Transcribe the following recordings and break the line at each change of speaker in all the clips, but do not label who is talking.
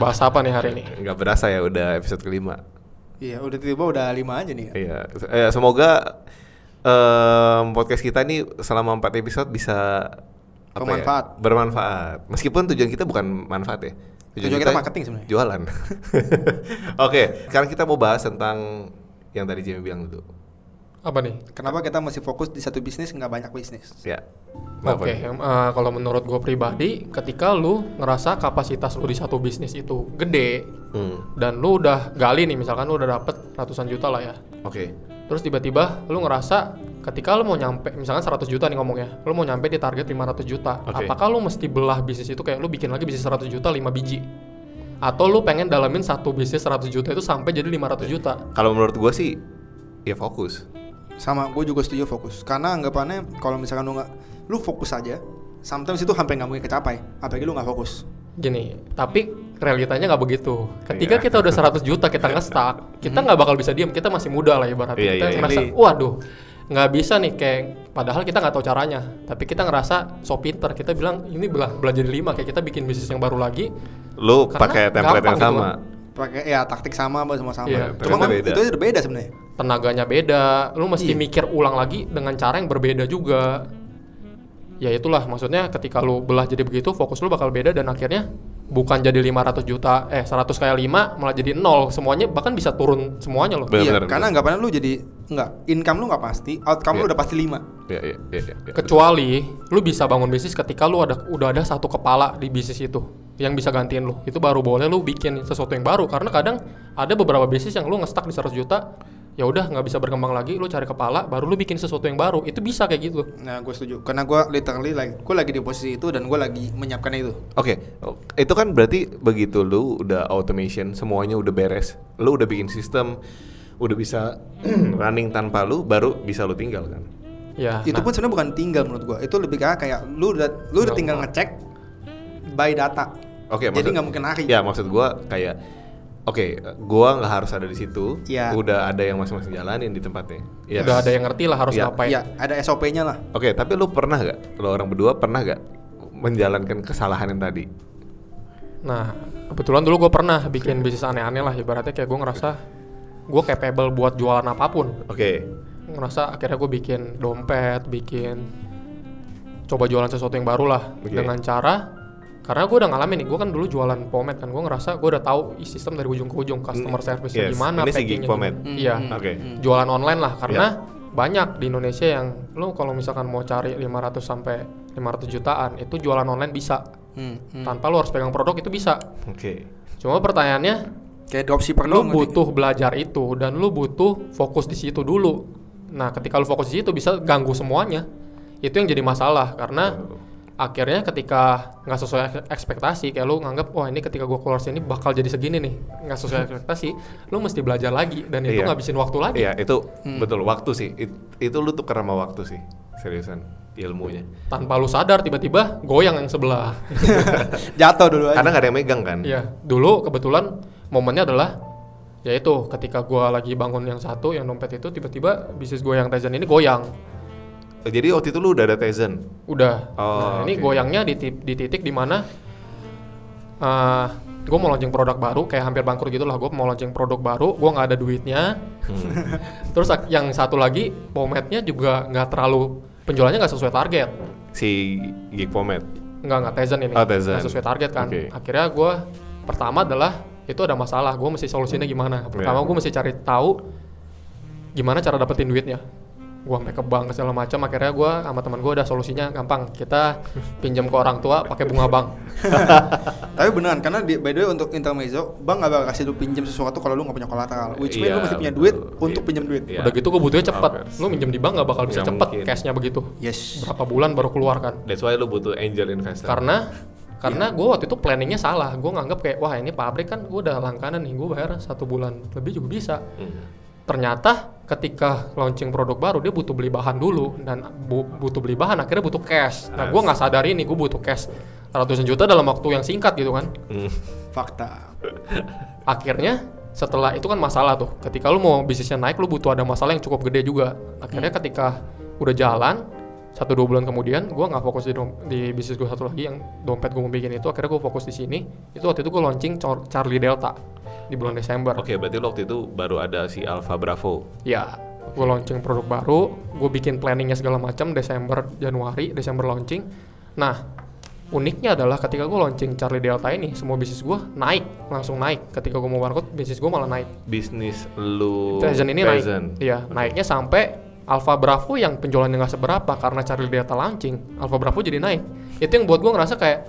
Bahas apa nih hari ini?
Nggak berasa ya udah episode kelima.
Iya, udah tiba-tiba udah lima aja nih. Kan?
Iya, eh, semoga em, podcast kita nih selama empat episode bisa apa ya,
Bermanfaat.
bermanfaat. Meskipun tujuan kita bukan manfaat ya.
Tujuan kita marketing sebenarnya.
Jualan. Oke, sekarang kita mau bahas tentang yang tadi Jimmy bilang dulu.
Apa nih?
Kenapa kita masih fokus di satu bisnis nggak banyak bisnis?
Ya.
Oke,
Kenapa nih?
em, eh, kalau menurut gue pribadi, ketika lu ngerasa kapasitas lu di satu bisnis itu gede
Hmm.
dan lu udah gali nih, misalkan lu udah dapet ratusan juta lah ya,
Oke.
terus tiba-tiba lu ngerasa ketika lu mau nyampe, misalkan 100 juta nih ngomongnya, lu mau nyampe di target 500 juta,
Oke.
apakah lu mesti belah bisnis itu kayak lu bikin lagi bisnis 100 juta 5 biji? Atau lu pengen dalamin satu bisnis 100 juta itu sampai jadi 500 juta?
Kalau menurut gua sih ya fokus.
Sama, gue juga setuju fokus. Karena anggapannya kalau misalkan lu nggak, lu fokus aja. Sometimes itu hampir nggak mungkin kecapai, apalagi lu nggak fokus.
Gini, tapi realitanya nggak begitu. Ketika
Iya. Mm-hmm.
kita udah 100 juta kita nge-stuck, kita nggak bakal bisa diam. Kita masih muda lah ibaratnya.
Iya,
kita
iya, iya.
ngerasa,
Iya.
waduh, nggak bisa nih kayak. Padahal kita nggak tahu caranya, tapi kita ngerasa so pinter. Kita bilang ini belah belajar di lima kayak kita bikin bisnis yang baru lagi.
Lu
Karena
pakai template
gampang
yang
gitu
sama.
kan.
Pakai ya taktik sama, apa semua sama.
Iya,
ternyata
Cuma kan
beda.
itu aja beda sebenarnya.
Tenaganya beda, lu mesti
Iya.
mikir ulang lagi dengan cara yang berbeda juga. Ya itulah maksudnya ketika lu belah jadi begitu, fokus lu bakal beda dan akhirnya bukan jadi 500 juta, eh 100 kayak 5 malah jadi nol semuanya bahkan bisa turun semuanya loh.
Bener,
iya,
bener,
karena
bener.
anggapannya lu jadi nggak, income lu nggak pasti, outcome lu
Iya.
udah pasti lima.
Ya, ya, ya, ya, ya.
gitu. Kecuali lu bisa bangun bisnis ketika lu ada udah ada satu kepala di bisnis itu yang bisa gantiin lu. Itu baru boleh lu bikin sesuatu yang baru karena kadang ada beberapa bisnis yang lu ngestak di 100 juta, ya udah nggak bisa berkembang lagi, lu cari kepala baru lu bikin sesuatu yang baru. Itu bisa kayak gitu.
Nah, gue setuju. Karena gue literally like, gue lagi di posisi itu dan gue lagi menyiapkan itu.
Oke, o- itu kan berarti begitu lu udah automation semuanya udah beres, lu udah bikin sistem, udah bisa running tanpa lu, baru bisa lu tinggal kan?
Ya.
itu
nah,
pun sebenarnya bukan tinggal menurut gua itu lebih kayak kayak lu udah lu udah
Nggak
tinggal
mau.
ngecek by data
Oke,
jadi
maksud-
nggak mungkin lari
Ya maksud gua kayak, oke, gua nggak harus ada di situ,
Iya.
udah ada yang masing-masing jalanin di tempatnya. Yes.
udah ada yang ngerti lah harus
Ya.
ngapain.
Iya, ada SOP-nya lah
Oke, tapi lu pernah gak, lu orang berdua pernah gak menjalankan kesalahan yang tadi?
Nah, kebetulan dulu gue pernah bikin bisnis aneh-aneh lah ibaratnya kayak gue ngerasa gue capable buat jualan apapun.
Oke,
ngerasa akhirnya gue bikin dompet, bikin coba jualan sesuatu yang baru lah
Oke.
dengan cara karena gue udah ngalamin nih, gue kan dulu jualan pomade kan, gue ngerasa gue udah tahu i- sistem dari ujung ke ujung, customer
Mm,
service
yes.
gimana,
Ini si
packingnya
gig pomade. Iya.
gimana. Iya,
Mm,
oke,
jualan online lah karena banyak di Indonesia yang lo kalau misalkan mau cari 500 sampai 500 jutaan itu jualan online bisa
hmm, hmm.
tanpa lo harus pegang produk itu bisa.
oke.
Cuma pertanyaannya
kayak dropshipper
lu
dong
butuh belajar itu dan lu butuh fokus di situ dulu. Nah, ketika lu fokus di situ bisa ganggu semuanya. Itu yang jadi masalah karena akhirnya ketika nggak sesuai ek- ekspektasi kayak lu nganggap wah ini ketika gua keluar sini bakal jadi segini nih nggak sesuai ekspektasi lu mesti belajar lagi dan itu
Iya.
ngabisin waktu lagi
Iya, itu
Hmm.
betul waktu sih. It- itu lu tuh sama waktu sih, seriusan ilmunya.
tanpa lu sadar tiba-tiba goyang yang sebelah
jatuh dulu aja
Karena nggak ada yang megang kan?
Iya, dulu kebetulan momennya adalah yaitu ketika gua lagi bangun yang satu yang dompet itu tiba-tiba bisnis gua yang Tizen ini goyang
Jadi waktu itu lu udah ada Tizen.
Udah. nah,
Oh,
ini
oke.
goyangnya di, ti- di titik dimana gue mau launching produk baru, kayak hampir bangkrut gitu lah. Gue mau launching produk baru, gue nggak ada duitnya.
Hmm.
Terus ak- yang satu lagi, pomade-nya juga nggak terlalu penjualannya nggak sesuai target.
Si Geek Pomet.
Nggak nggak Tizen ini,
Oh, Tizen.
nggak sesuai target kan.
Oke.
Akhirnya gue pertama adalah itu ada masalah, gue mesti solusinya gimana. Pertama
Iya.
gue mesti cari tahu gimana cara dapetin duitnya gue sampai ke bank segala macam akhirnya gue sama teman gue udah solusinya gampang kita pinjam ke orang tua pakai bunga bank
tapi beneran karena di, by the way untuk intermezzo bank nggak bakal kasih lu pinjam sesuatu kalau lu nggak punya kolateral which means
Iya,
lu mesti punya
betul.
duit
Iya.
untuk pinjam duit
Iya.
udah gitu gue butuhnya cepet
Oke.
lu minjem di bank gak bakal bisa
Nggak
cepet
mungkin.
cashnya begitu
yes
berapa bulan baru keluar kan
That's why lu butuh angel investor.
karena
Iya.
karena gue waktu itu planningnya salah gue nganggap kayak wah ini pabrik kan gue udah langganan nih gue bayar satu bulan lebih juga bisa
Hmm.
ternyata ketika launching produk baru dia butuh beli bahan dulu dan bu- butuh beli bahan akhirnya butuh cash nah gue nggak sadar ini gue butuh cash ratusan juta dalam waktu yang singkat gitu kan
Hmm.
fakta
akhirnya setelah itu kan masalah tuh ketika lu mau bisnisnya naik lu butuh ada masalah yang cukup gede juga akhirnya ketika udah jalan satu dua bulan kemudian gue nggak fokus di, dom- di bisnis gue satu lagi yang dompet gue mau bikin itu akhirnya gue fokus di sini itu waktu itu gue launching Char- Charlie Delta di bulan Desember
Oke, berarti lo waktu itu baru ada si Alpha Bravo.
ya gue launching produk baru gue bikin planningnya segala macam Desember Januari Desember launching nah uniknya adalah ketika gue launching Charlie Delta ini semua bisnis gue naik langsung naik ketika gue mau warkot bisnis gue malah naik
Bisnis lu
Peasant ini naik
Peasant.
iya
Oh, Oke.
naiknya sampai Alpha Bravo yang penjualannya nggak seberapa karena Charlie Delta launching Alpha Bravo jadi naik itu yang buat gue ngerasa kayak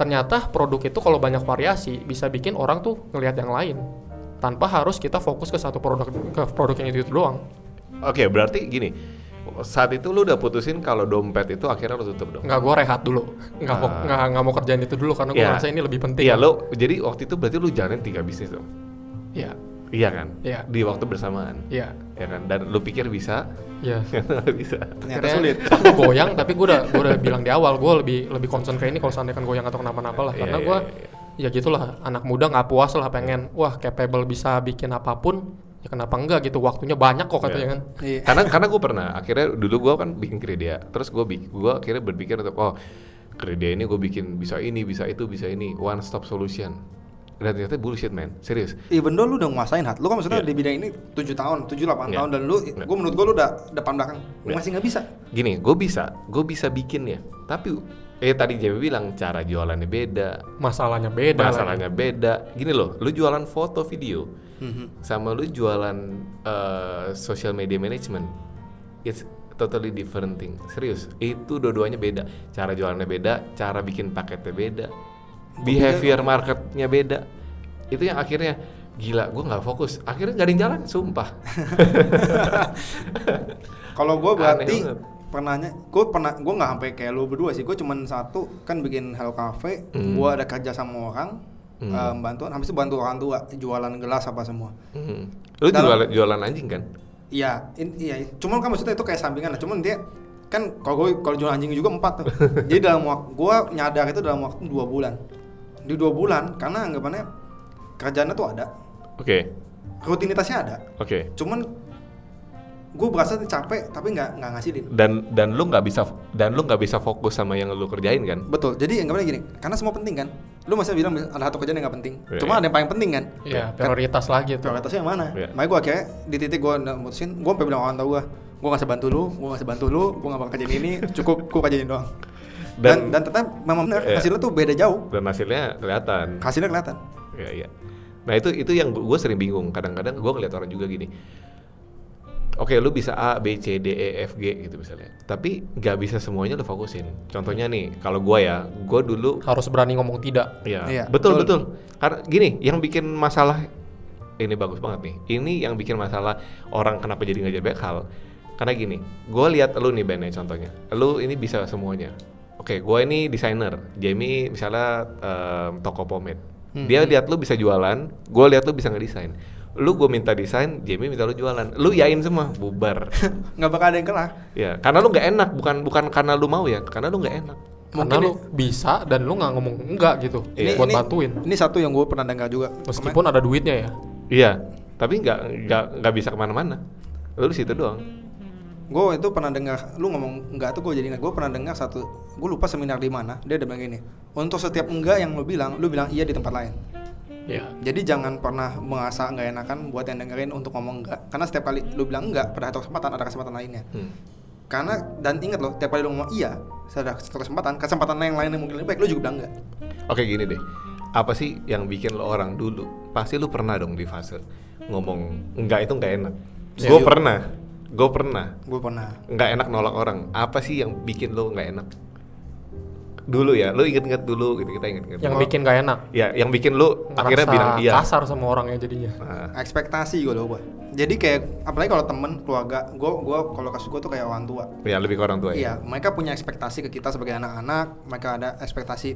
ternyata produk itu kalau banyak variasi bisa bikin orang tuh ngelihat yang lain tanpa harus kita fokus ke satu produk ke produk yang itu, itu doang
Oke, berarti gini. Saat itu lu udah putusin kalau dompet itu akhirnya lu tutup dong.
nggak gue rehat dulu nggak mau
Ah.
nggak nggak mau kerjaan itu dulu karena gue
Iya.
ngerasa ini lebih penting
Iya, lo jadi waktu itu berarti lu jalanin tiga bisnis dong.
iya
Iya kan?
Iya.
Di waktu bersamaan.
iya
Ya kan? Dan lu pikir bisa?
iya
Nggak bisa.
Ternyata
Akhirnya
sulit.
aku goyang tapi gue udah gue udah bilang di awal gue lebih lebih concern ke ini kalau seandainya kan goyang atau kenapa-napa lah
Iya,
karena
iya,
gue ya
iya.
gitulah anak muda nggak puas lah pengen wah capable bisa bikin apapun ya kenapa enggak gitu waktunya banyak kok katanya
Iya.
kan
Iya.
karena karena gue pernah akhirnya dulu gue kan bikin kredia terus gue gue akhirnya berpikir untuk oh kredia ini gue bikin bisa ini bisa itu bisa ini one stop solution dan ternyata bullshit man serius
Even though lu udah nguasain hat, lu kan maksudnya
Iya.
di bidang ini 7 tahun, 7 8
Iya.
tahun dan lu
Iya.
gua menurut gua lu udah depan belakang. Lu
Iya.
masih nggak bisa.
gini gue bisa gue bisa bikin ya tapi eh tadi Jamie bilang cara jualannya beda
masalahnya beda lah.
masalahnya beda gini loh lu jualan foto video sama lu jualan eh, social media management it's totally different thing serius itu dua-duanya beda cara jualannya beda cara bikin paketnya beda behavior marketnya beda itu yang akhirnya gila gue nggak fokus akhirnya nggak ada yang jalan sumpah
Kalau gua berarti
Aneh banget.
pernahnya gua pernah gua nggak sampai kayak lu berdua sih. Gua cuman satu kan bikin Hello Cafe,
Hmm.
gua ada kerja sama orang
Hmm.
eh, bantuan habis itu bantu orang tua jualan gelas apa semua.
Hmm. lu
Dalam-
jualan jualan anjing kan
Iya, in- iya. Cuman kan maksudnya itu kayak sampingan lah. Cuman dia kan kalau gue kalau jual anjing juga empat tuh. Jadi dalam waktu gue nyadar itu dalam waktu dua bulan. Di dua bulan karena anggapannya kerjaannya tuh ada,
oke
rutinitasnya ada.
oke
Cuman gue berasa capek tapi nggak nggak ngasilin.
dan dan lu nggak bisa dan lu nggak bisa fokus sama yang lu kerjain kan
Betul. Jadi anggapannya gini, karena semua penting kan. Lu masih bilang ada satu kerjaan yang nggak penting.
Iya.
Cuma ada yang paling penting kan.
Iya, prioritas lagi tuh
prioritasnya yang mana?
Iya.
Makanya gue akhirnya di titik gue mutusin, gue sampai bilang orang tua gue, gue nggak usah bantu lu, gue nggak usah bantu lu, gue nggak bakal kerjain ini, cukup gue kerjain doang. Dan
Dan-
dan, ternyata memang benar
Iya.
hasilnya tuh beda jauh,
dan hasilnya kelihatan
hasilnya kelihatan.
Iya iya. Nah itu itu yang gue sering bingung. Kadang-kadang gue ngeliat orang juga gini. Oke, lu bisa A, B, C, D, E, F, G gitu misalnya. Tapi nggak bisa semuanya lu fokusin. Contohnya nih, kalau gue ya, gue dulu,
harus berani ngomong tidak
ya
Iya,
betul
betul.
betul. Karena gini, yang bikin masalah ini bagus banget nih. Ini yang bikin masalah orang kenapa jadi nggak jadi banyak hal. Karena gini, gue lihat lu nih bandnya contohnya. Lu ini bisa semuanya. Oke, gue ini desainer. Jamie misalnya em, toko pomade.
Hmm.
Dia lihat lu bisa jualan, gue lihat lu bisa ngedesain. Lu gue minta desain, Jamie minta lu jualan. Lu yain semua, bubar.
Nggak bakal ada yang kalah.
ya, karena lu nggak enak, bukan bukan karena lu mau ya, karena lu nggak enak.
karena lu bisa dan lu nggak ngomong enggak gitu
Iya.
buat bantuin
Ini satu yang gue pernah dengar juga.
meskipun ada duitnya ya
Iya, tapi nggak nggak nggak bisa kemana-mana. Lu di situ doang.
Gue itu pernah dengar, lu ngomong enggak tuh gue jadi ingat. Gue pernah dengar satu, gue lupa seminar di mana. Dia ada bilang gini, untuk setiap enggak yang lu bilang, lu bilang iya di tempat lain.
Iya.
Jadi jangan pernah merasa nggak enakan buat yang dengerin untuk ngomong enggak. Karena setiap kali lu bilang enggak, pada satu kesempatan ada kesempatan lainnya.
Hmm.
Karena dan ingat loh, tiap kali lu ngomong iya, ada satu kesempatan, kesempatan yang lain yang mungkin lebih baik, lu juga bilang enggak.
Oke gini deh, apa sih yang bikin lo orang dulu? Pasti lo pernah dong di fase ngomong enggak itu enggak enak. Gue
Setuju.
pernah, gue pernah
Gue pernah.
enggak enak nolak orang. Apa sih yang bikin lo enggak enak? Dulu ya, lo inget-inget dulu gitu kita inget-inget.
yang
dulu.
bikin gak enak
ya, yang bikin lo akhirnya
Ngerasa
bilang iya.
kasar sama orangnya jadinya
Nah,
Ekspektasi gue loh gue. Jadi kayak apalagi kalau temen, keluarga, gue gue kalau kasus gue tuh kayak orang tua.
ya lebih ke orang tua ya.
Iya, mereka punya ekspektasi ke kita sebagai anak-anak. Mereka ada ekspektasi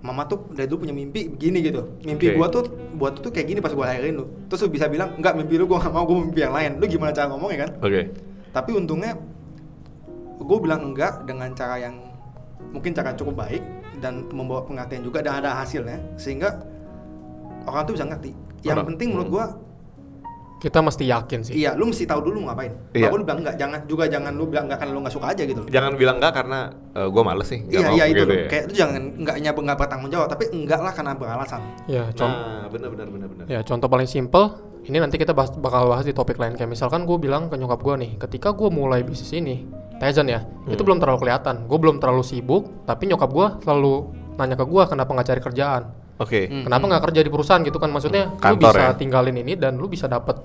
Mama tuh dari dulu punya mimpi begini gitu. Mimpi
Oke.
gua tuh buat tuh kayak gini pas gua lahirin lu. Terus lu bisa bilang, "Enggak, mimpi lu gua gak mau, gua mau mimpi yang lain." Lu gimana cara ngomongnya kan?
Oke.
Tapi untungnya gue bilang enggak dengan cara yang mungkin cara cukup baik dan membawa pengertian juga dan ada hasilnya sehingga orang tuh bisa ngerti. Yang
Orang- Hmm.
penting menurut gue
Kita mesti yakin sih.
Iya, lu mesti tahu dulu mau ngapain.
Iya.
Bapak lu bilang enggak, jangan juga jangan lu bilang enggak karena lu enggak suka aja gitu loh.
Jangan bilang enggak karena eh, gua males sih. nggak
Iya,
mau
iya itu
gitu
loh.
ya.
Kayak lu jangan enggaknya enggak bertanggung jawab, tapi enggak lah karena beralasan.
Ya, con-
Nah, benar benar benar benar.
ya contoh paling simple. Ini nanti kita bahas- bakal bahas di topik lain. Kayak misalkan gue bilang ke nyokap gue nih, ketika gue mulai bisnis ini, Tizen ya,
Hmm.
itu belum terlalu kelihatan. Gue belum terlalu sibuk, tapi nyokap gue selalu nanya ke gue kenapa nggak cari kerjaan.
Oke.
Hmm.
Kenapa nggak kerja di perusahaan gitu kan? Maksudnya
Hmm,
lu
kantor
bisa
ya?
tinggalin ini dan lu bisa dapet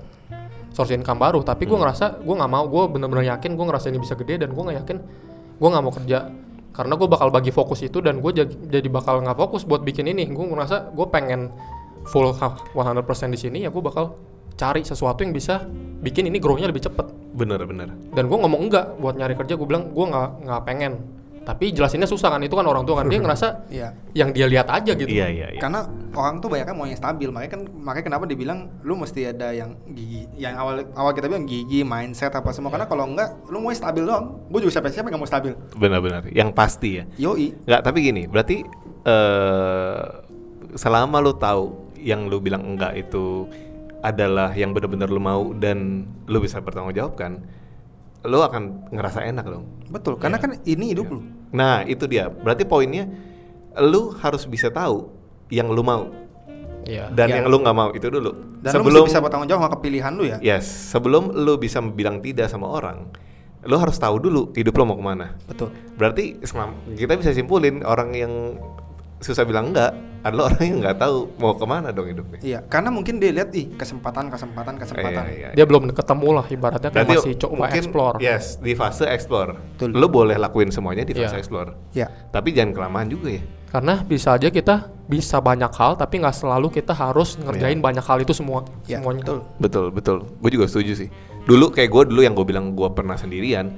source income baru. Tapi
Hmm.
gue ngerasa gue nggak mau. Gue bener-bener yakin gue ngerasa ini bisa gede dan gue nggak yakin gue nggak mau kerja karena gue bakal bagi fokus itu dan gue jadi, jadi bakal nggak fokus buat bikin ini. Gue ngerasa gue pengen full ha- 100% di sini ya gue bakal cari sesuatu yang bisa bikin ini grow-nya lebih cepet.
Benar benar.
Dan gue ngomong enggak buat nyari kerja. Gue bilang gue nggak nggak pengen. Tapi jelasinnya susah kan itu kan orang tua kan dia ngerasa
Iya.
yang dia lihat aja gitu.
Iya iya iya.
Karena orang tuh banyak kan mau yang stabil, makanya kan makanya kenapa dibilang lu mesti ada yang gigi, yang awal awal kita bilang gigi, mindset apa semua.
Iya.
Karena kalau enggak, lu mau yang stabil doang. Gue juga siapa siapa yang nggak mau stabil.
Benar benar. Yang pasti ya.
Yoi,
Enggak, tapi gini, berarti eh selama lu tahu yang lu bilang enggak itu adalah yang benar-benar lu mau dan lu bisa bertanggung jawab kan, lu akan ngerasa enak dong.
betul.
Iya.
Karena kan ini hidup lu.
Nah, itu dia. Berarti poinnya lu harus bisa tahu yang lu mau
Iya.
dan
Iya.
yang lu nggak mau itu dulu.
Dan lu mesti bisa bertanggung jawab sama kepilihan lu ya.
yes, sebelum lu bisa bilang tidak sama orang, lu harus tahu dulu hidup lu mau kemana.
Betul.
Berarti selam- kita bisa simpulin orang yang susah bilang enggak adalah orang yang nggak tahu mau kemana dong hidupnya.
Iya, karena mungkin dia lihat ih kesempatan, kesempatan, kesempatan.
Iya, iya.
dia belum ketemu lah ibaratnya kan masih coba
mungkin- ya.
explore
Yes, di fase explore.
Betul.
Lu boleh lakuin semuanya di
Iya.
fase explore.
Iya.
Tapi jangan kelamaan juga ya.
karena bisa aja kita bisa banyak hal tapi nggak selalu kita harus
Ya.
ngerjain banyak hal itu semua
Iya,
semuanya
betul.
Betul, betul. Gue juga setuju sih. Dulu kayak gue dulu yang gue bilang gue pernah sendirian.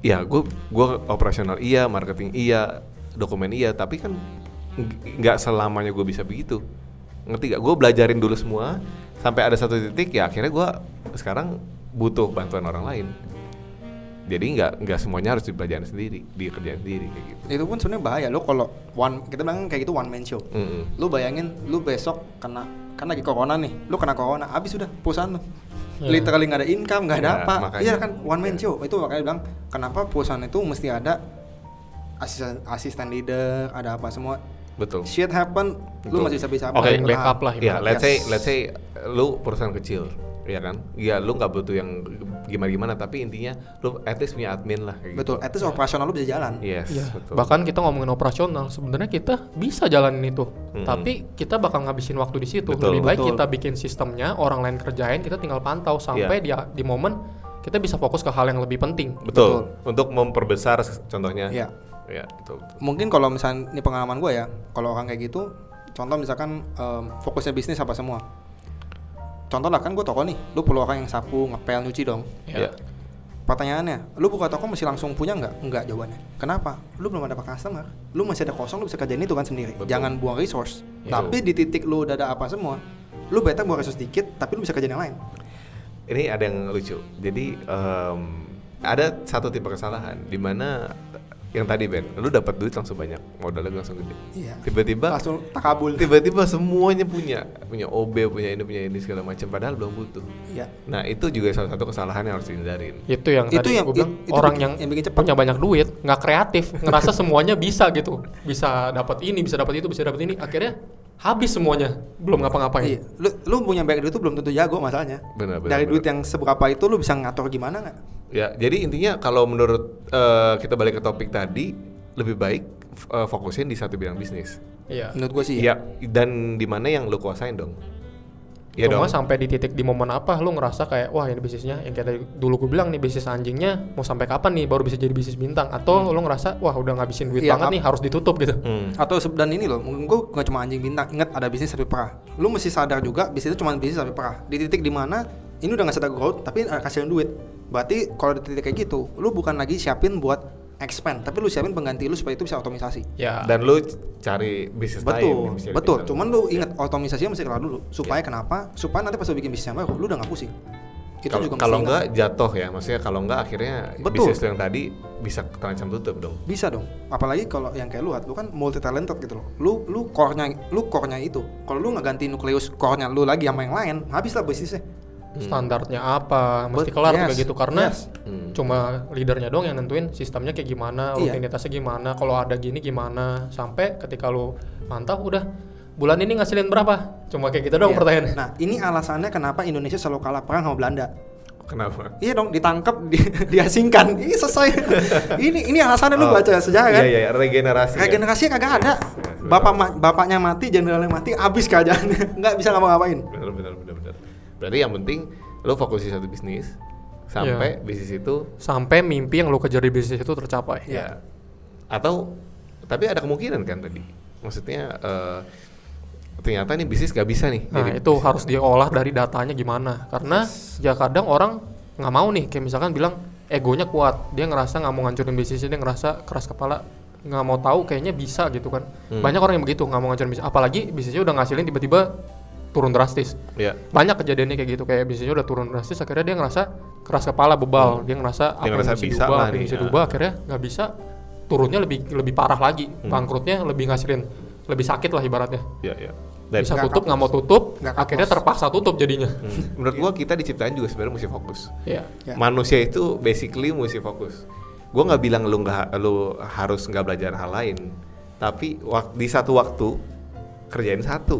Ya, gue gua operasional iya, marketing iya, dokumen iya, tapi kan ng- nggak selamanya gue bisa begitu. Ngerti gak? Gue belajarin dulu semua sampai ada satu titik ya akhirnya gue sekarang butuh bantuan orang lain. Jadi nggak nggak semuanya harus dipelajarin sendiri, dikerjain sendiri kayak gitu.
Itu pun sebenarnya bahaya lo kalau one kita bilang kayak gitu one man show.
Mm-mm.
Lu bayangin lu besok kena kan lagi corona nih, lu kena corona, abis udah perusahaan lu.
Iya.
Literally nggak ada income, nggak ada
Iya,
apa.
makanya.
Iya kan one man show. Itu makanya bilang kenapa perusahaan itu mesti ada asisten asisten leader, ada apa semua.
Betul.
Shit happen, lu
Betul.
masih bisa bisa
Oke,
apa.
backup lah
Ya,
ibaratnya.
let's say
Yes.
let's say uh, lu perusahaan kecil, ya kan? Ya lu nggak butuh yang gimana-gimana, tapi intinya lu at least punya admin lah. Kayak
Betul, at least operasional lu bisa jalan.
Gitu. Yes,
Iya.
betul.
bahkan kita ngomongin operasional sebenarnya kita bisa jalanin itu
Mm-mm.
tapi kita bakal ngabisin waktu di situ
Hmm. Betul.
lebih baik
Betul.
kita bikin sistemnya orang lain kerjain kita tinggal pantau
Ya.
sampai dia di momen kita bisa fokus ke hal yang lebih penting
betul. Untuk memperbesar s- contohnya.
Iya.
Iya, betul. betul.
mungkin kalau misalnya ini pengalaman gue ya kalau orang kayak gitu contoh misalkan em, fokusnya bisnis apa semua contoh lah kan gue toko nih lu perlu orang yang sapu ngepel nyuci dong
Ya.
Iya.
pertanyaannya lu buka toko mesti langsung punya nggak nggak jawabannya kenapa lu belum ada customer lu masih ada kosong lu bisa kerjain itu kan sendiri
Betul.
jangan buang resource
Iya.
tapi di titik lu udah ada apa semua lu better buang resource dikit tapi lu bisa kerjain yang lain
Ini ada yang lucu. Jadi em, ada satu tipe kesalahan di mana yang tadi Ben, lu dapat duit langsung banyak, modalnya langsung gede.
iya
Tiba-tiba
langsung takabul
tiba-tiba semuanya punya, punya OB, punya ini, punya ini segala macam padahal belum butuh.
iya
Nah itu juga salah satu kesalahan yang harus dihindarin.
itu yang
Itu
tadi
yang-
gua bilang
it- itu
orang
bikin-
yang,
yang bikin cepat.
punya banyak duit nggak kreatif ngerasa semuanya bisa gitu bisa dapat ini bisa dapat itu bisa dapat ini akhirnya habis semuanya belum ngapa-ngapain
Iya, lu, lu punya banyak duit itu belum tentu jago masalahnya.
Benar, benar,
Dari
benar.
duit yang seberapa itu lu bisa ngatur gimana nggak?
Ya, jadi intinya kalau menurut eh, kita balik ke topik tadi, lebih baik f- eh, fokusin di satu bidang bisnis.
iya
Menurut gue sih. ya.
Ya, dan di mana yang lu kuasain dong? Ya
Cuma
dong.
sampai di titik di momen apa lu ngerasa kayak wah ini bisnisnya yang kayak tadi dulu gue bilang nih bisnis anjingnya mau sampai kapan nih baru bisa jadi bisnis bintang atau lu ngerasa wah udah ngabisin duit
Hmm. Iya,
banget
ap-
nih harus ditutup gitu.
Hmm,
Atau se- dan ini loh, mungkin gue gak cuma anjing bintang. Ingat ada bisnis sapi perah. Lu mesti sadar juga bisnis itu cuma bisnis sapi perah. Di titik dimana ini udah nggak sadar growth, tapi ada kasihan duit. Berarti kalau di titik kayak gitu, lu bukan lagi siapin buat expand, tapi lu siapin pengganti lu supaya itu bisa otomisasi.
Ya.
Dan lu c- cari bisnis lain. yang
Iya. Betul,
bisa Iya.
betul.
dibilang.
Cuman lu ingat otomisasinya mesti kelar dulu. Supaya
Iya.
kenapa? Supaya nanti pas lu bikin bisnis yang baru, lu udah nggak pusing. Itu
Kalau-
juga mesti
kalau
ingat.
enggak jatuh ya, maksudnya kalau enggak akhirnya
Betul.
bisnis lu yang tadi bisa terancam tutup dong.
bisa dong apalagi kalau yang kayak lu Hat, lu kan multi talented gitu loh lu lu core-nya lu core-nya itu kalau lu nggak ganti nukleus core-nya lu lagi sama yang lain habislah bisnisnya
standarnya apa mesti
But-
kelar
Hmm. yes,
kayak gitu karena
yes.
Hmm.
cuma leadernya dong yang nentuin sistemnya kayak gimana
Iya.
rutinitasnya gimana kalau ada gini gimana sampai ketika lu mantap udah bulan ini ngasilin berapa cuma kayak gitu dong
Iya.
pertanyaannya
Nah, ini alasannya kenapa Indonesia selalu kalah perang sama Belanda.
Kenapa?
Iya dong, ditangkap, di, diasingkan. Ini selesai. ini ini alasannya lu
Oh,
baca sejarah kan?
Iya, iya, regenerasi. ya.
Regenerasinya kagak
Iya,
ada.
yes, betul.
Bapak ma- bapaknya mati, jenderalnya mati, habis keajaannya. Nggak bisa ngapa-ngapain.
Bener, bener, bener, bener. Berarti yang penting lo fokus di satu bisnis sampai
Iya.
bisnis itu
sampai mimpi yang lu kejar di bisnis itu tercapai
ya
Iya.
atau tapi ada kemungkinan kan tadi. Maksudnya eh, ternyata nih bisnis gak bisa nih.
Nah,
jadi
itu harus diolah dari datanya gimana. Karena ya kadang orang nggak mau nih, kayak misalkan bilang egonya kuat, dia ngerasa nggak mau ngancurin bisnis, dia ngerasa keras kepala, nggak mau tahu kayaknya bisa gitu kan.
Hmm.
Banyak orang yang begitu nggak mau ngancurin bisnis, apalagi bisnisnya udah ngasilin tiba-tiba turun drastis.
Ya.
Banyak kejadiannya kayak gitu, kayak bisnisnya udah turun drastis, akhirnya dia ngerasa keras kepala, bebal, dia ngerasa apa yang
Hmm. ngerasa
bisa
bisa
diubah,
lah
apa yang
nih,
bisa
ah.
diubah, akhirnya nggak bisa, turunnya lebih lebih parah lagi,
Hmm.
bangkrutnya lebih ngasilin, lebih sakit lah ibaratnya
Ya, ya. Dan
bisa
nggak
tutup
kapos.
nggak mau tutup
Nggak kapos.
akhirnya terpaksa tutup jadinya
hmm, menurut gua kita diciptain juga sebenarnya mesti fokus.
Iya.
Ya.
Manusia itu basically mesti fokus. Gua nggak bilang lu nggak lu harus nggak belajar hal lain, tapi wak- di satu waktu kerjain satu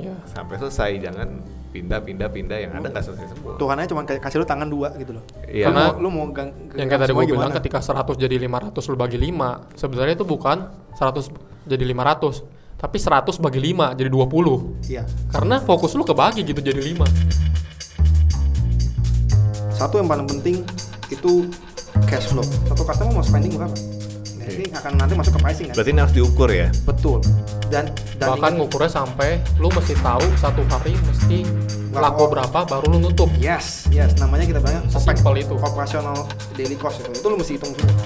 Iya.
sampai selesai jangan pindah pindah pindah yang ada nggak selesai semua.
Tuhannya cuma kayak kasih lu tangan dua gitu loh.
Iya.
Karena
lu mau, lu mau gang,
yang
gang
kayak tadi
semua
gue bilang
gimana?
ketika 100 jadi 500 lu bagi 5 sebenarnya itu bukan 100 jadi 500 tapi 100 bagi 5 jadi 20
Iya.
karena fokus lu kebagi gitu jadi 5
Satu yang paling penting itu cash flow. Satu customer mau spending berapa? Nah,
Oke.
ini akan nanti masuk ke pricing kan?
Berarti ini harus diukur ya.
Betul. Dan dan
bahkan
ingat-
ngukurnya sampai lu mesti tahu satu hari mesti laku
Laku.
berapa baru lu nutup
Yes, yes. Namanya kita bilangnya
Sesimpel itu.
operasional daily cost itu. Itu lu mesti hitung semua.